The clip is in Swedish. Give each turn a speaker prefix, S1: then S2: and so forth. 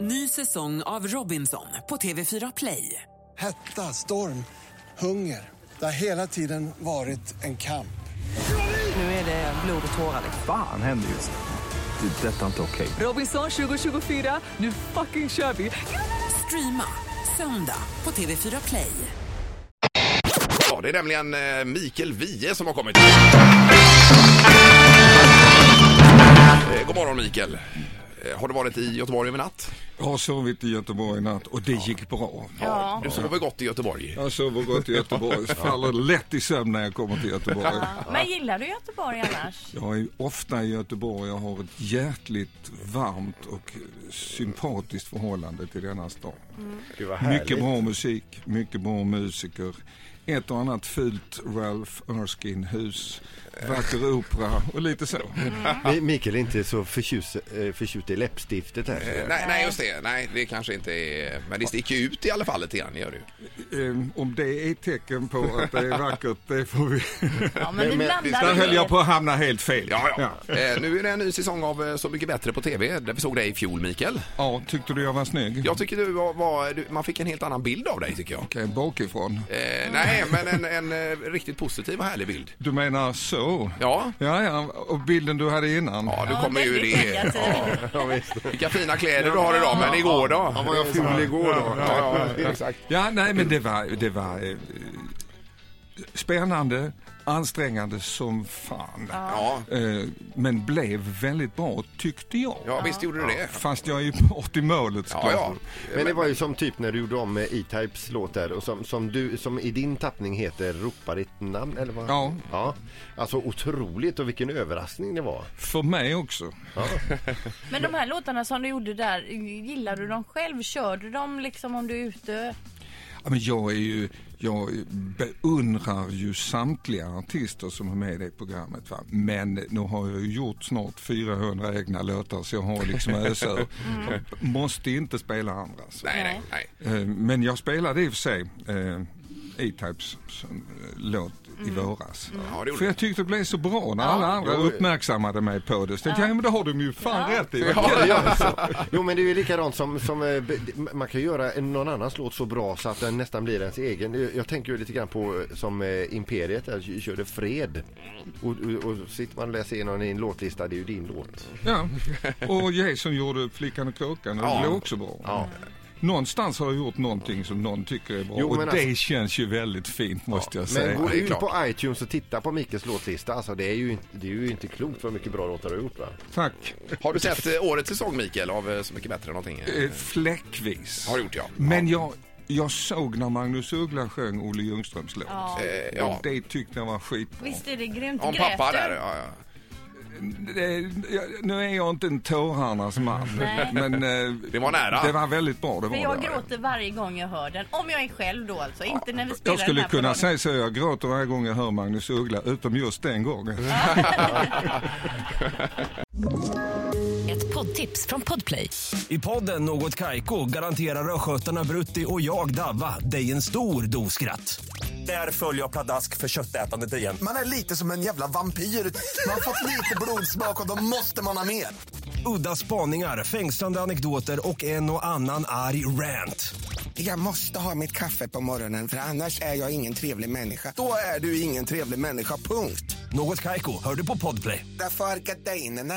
S1: Ny säsong av Robinson på TV4 Play.
S2: Hetta, storm, hunger. Det har hela tiden varit en kamp.
S1: Nu är det blod och tårar. liksom.
S3: Fan händer just nu. Det. är Detta är inte okej.
S1: Robinson 2024, nu fucking kör vi! Streama söndag på TV4 Play.
S4: Ja, det är nämligen eh, Mikael Wiehe som har kommit. Eh, God morgon Mikael. Eh, Har du varit i Göteborg över natt?
S5: Jag har sovit i Göteborg i natt och det gick bra.
S4: Ja. Du sover gott i Göteborg.
S5: Jag sover gott i Göteborg, faller lätt i sömn när jag kommer till Göteborg.
S6: Men gillar du Göteborg annars?
S5: Jag är ofta i Göteborg, jag har ett hjärtligt varmt och sympatiskt förhållande till denna stad.
S4: Mm.
S5: Mycket bra musik, mycket bra musiker. Ett och annat fult Ralph Erskine-hus, vacker opera och lite så.
S4: Mm.
S7: Mi- Mikael är inte så förtjus, eh, förtjust i läppstiftet här.
S4: Eh, Nej, nej, just det. Nej, det kanske inte är... Men det sticker ju ut i alla fall lite grann, gör det ju.
S5: Ehm, Om det är ett tecken på att det är vackert, det får vi...
S6: Ja, men vi
S5: Där
S6: blandar
S5: höll jag
S6: med.
S5: på att hamna helt fel.
S4: Ja, ja. Eh, Nu är det en ny säsong av eh, Så mycket bättre på TV, där vi såg dig i fjol, Mikael.
S5: Ja, tyckte du jag var snygg?
S4: Jag tycker du var... var du, man fick en helt annan bild av dig, tycker jag.
S5: Okej, bakifrån.
S4: Eh, nej, men en, en eh, riktigt positiv och härlig bild.
S5: Du menar så?
S4: Ja.
S5: Ja, ja, och bilden du hade innan?
S4: Ja, du
S6: Ja,
S4: kommer ju
S6: väldigt
S4: det.
S6: negativ.
S4: Vilka fina kläder du har idag, men igår då? Ja, var jag ful igår då? Ja, ja, exakt.
S5: Ja, nej men det var, det var eh, spännande, ansträngande som fan.
S4: Ja,
S5: Eh, men blev väldigt bra tyckte jag.
S4: ja visst gjorde du det.
S5: Fast jag är ju bort i målet
S4: Ja,
S5: såklart.
S4: ja.
S7: Men det var ju som typ när du gjorde om eh, E-Types låt där och som, som, du, som i din tappning heter Ropa ditt namn eller vad?
S5: Ja.
S7: ja. Alltså otroligt och vilken överraskning det var.
S5: För mig också.
S6: Men de här låtarna som du gjorde där, gillar du dem själv? Kör du dem liksom om du är ute?
S5: Ja, men jag, är ju, jag beundrar ju samtliga artister som är med i det programmet. Va? Men nu har jag ju gjort snart 400 egna låtar så jag har liksom ösar. Jag Måste inte spela andras.
S4: Nej, nej, nej.
S5: Eh, Men jag spelade i och för sig eh, E-Types som, eh, låt i våras.
S4: Ja, det gjorde
S5: För jag tyckte det blev så bra när alla andra uppmärksammade mig på det. Så tänkte jag, ja, men det har de ju fan rätt i.
S7: Ja, det gör så. Alltså, Jo men det är ju likadant som, som eh, be- man kan ju göra en- någon annans låt så bra så att den nästan blir ens egen. Jag tänker ju lite grann på eh, som eh, Imperiet där, k- körde Fred. Och, och, och sitter man och läser igenom en låtlista, det är ju din låt.
S5: Ja. Och Jason gjorde Flickan och kråkan och
S4: Ja.
S5: det blev också bra. Någonstans har jag gjort någonting som någon tycker är bra
S7: Jo,
S5: och det
S7: men alltså-
S5: känns ju väldigt fint måste jag säga.
S7: Men gå
S4: det är
S7: ut
S4: klart.
S7: på iTunes och titta på Mikkels låtlista. Alltså det är ju inte, det är ju inte klokt vad mycket bra låtar du har gjort va?
S5: Tack.
S4: Har du sett eh, årets säsong, Mikael, av eh, Så mycket bättre någonting?
S5: Eh, Fläckvis.
S4: Har gjort, ja.
S5: Men jag, jag såg när Magnus Uggla sjöng Olle Ljungströms låt.
S6: Ja.
S4: Eh, Ja,
S5: Och det tyckte jag var skitbra.
S6: Visst är det grymt?
S4: om
S6: Grät
S4: pappa
S6: du?
S4: där. Ja, ja.
S5: Det, jag, nu är jag inte en tårarnas man. Men eh,
S4: Det var nära.
S5: Det var väldigt bra. Det var
S6: För jag
S5: det.
S6: gråter varje gång jag hör den. Om jag är själv då alltså, inte när vi spelar
S5: Jag skulle
S6: den här på
S5: kunna säga
S6: radion.
S5: så, jag gråter varje gång jag hör Magnus Uggla, utom just den gången.
S8: Ett poddtips från Podplay.
S9: I podden Något Kaiko garanterar östgötarna Brutti och jag, Davva, dig en stor dos skratt. Där följer jag pladask för köttätandet igen.
S10: Man är lite som en jävla vampyr. Man har fått lite blodsmak och då måste man ha mer.
S9: Udda spaningar, fängslande anekdoter och en och annan arg rant.
S10: Jag måste ha mitt kaffe på morgonen för annars är jag ingen trevlig människa. Då är du ingen trevlig människa, punkt.
S9: Något Kaiko, hör du på Podplay.
S10: Därför arkadeinerna.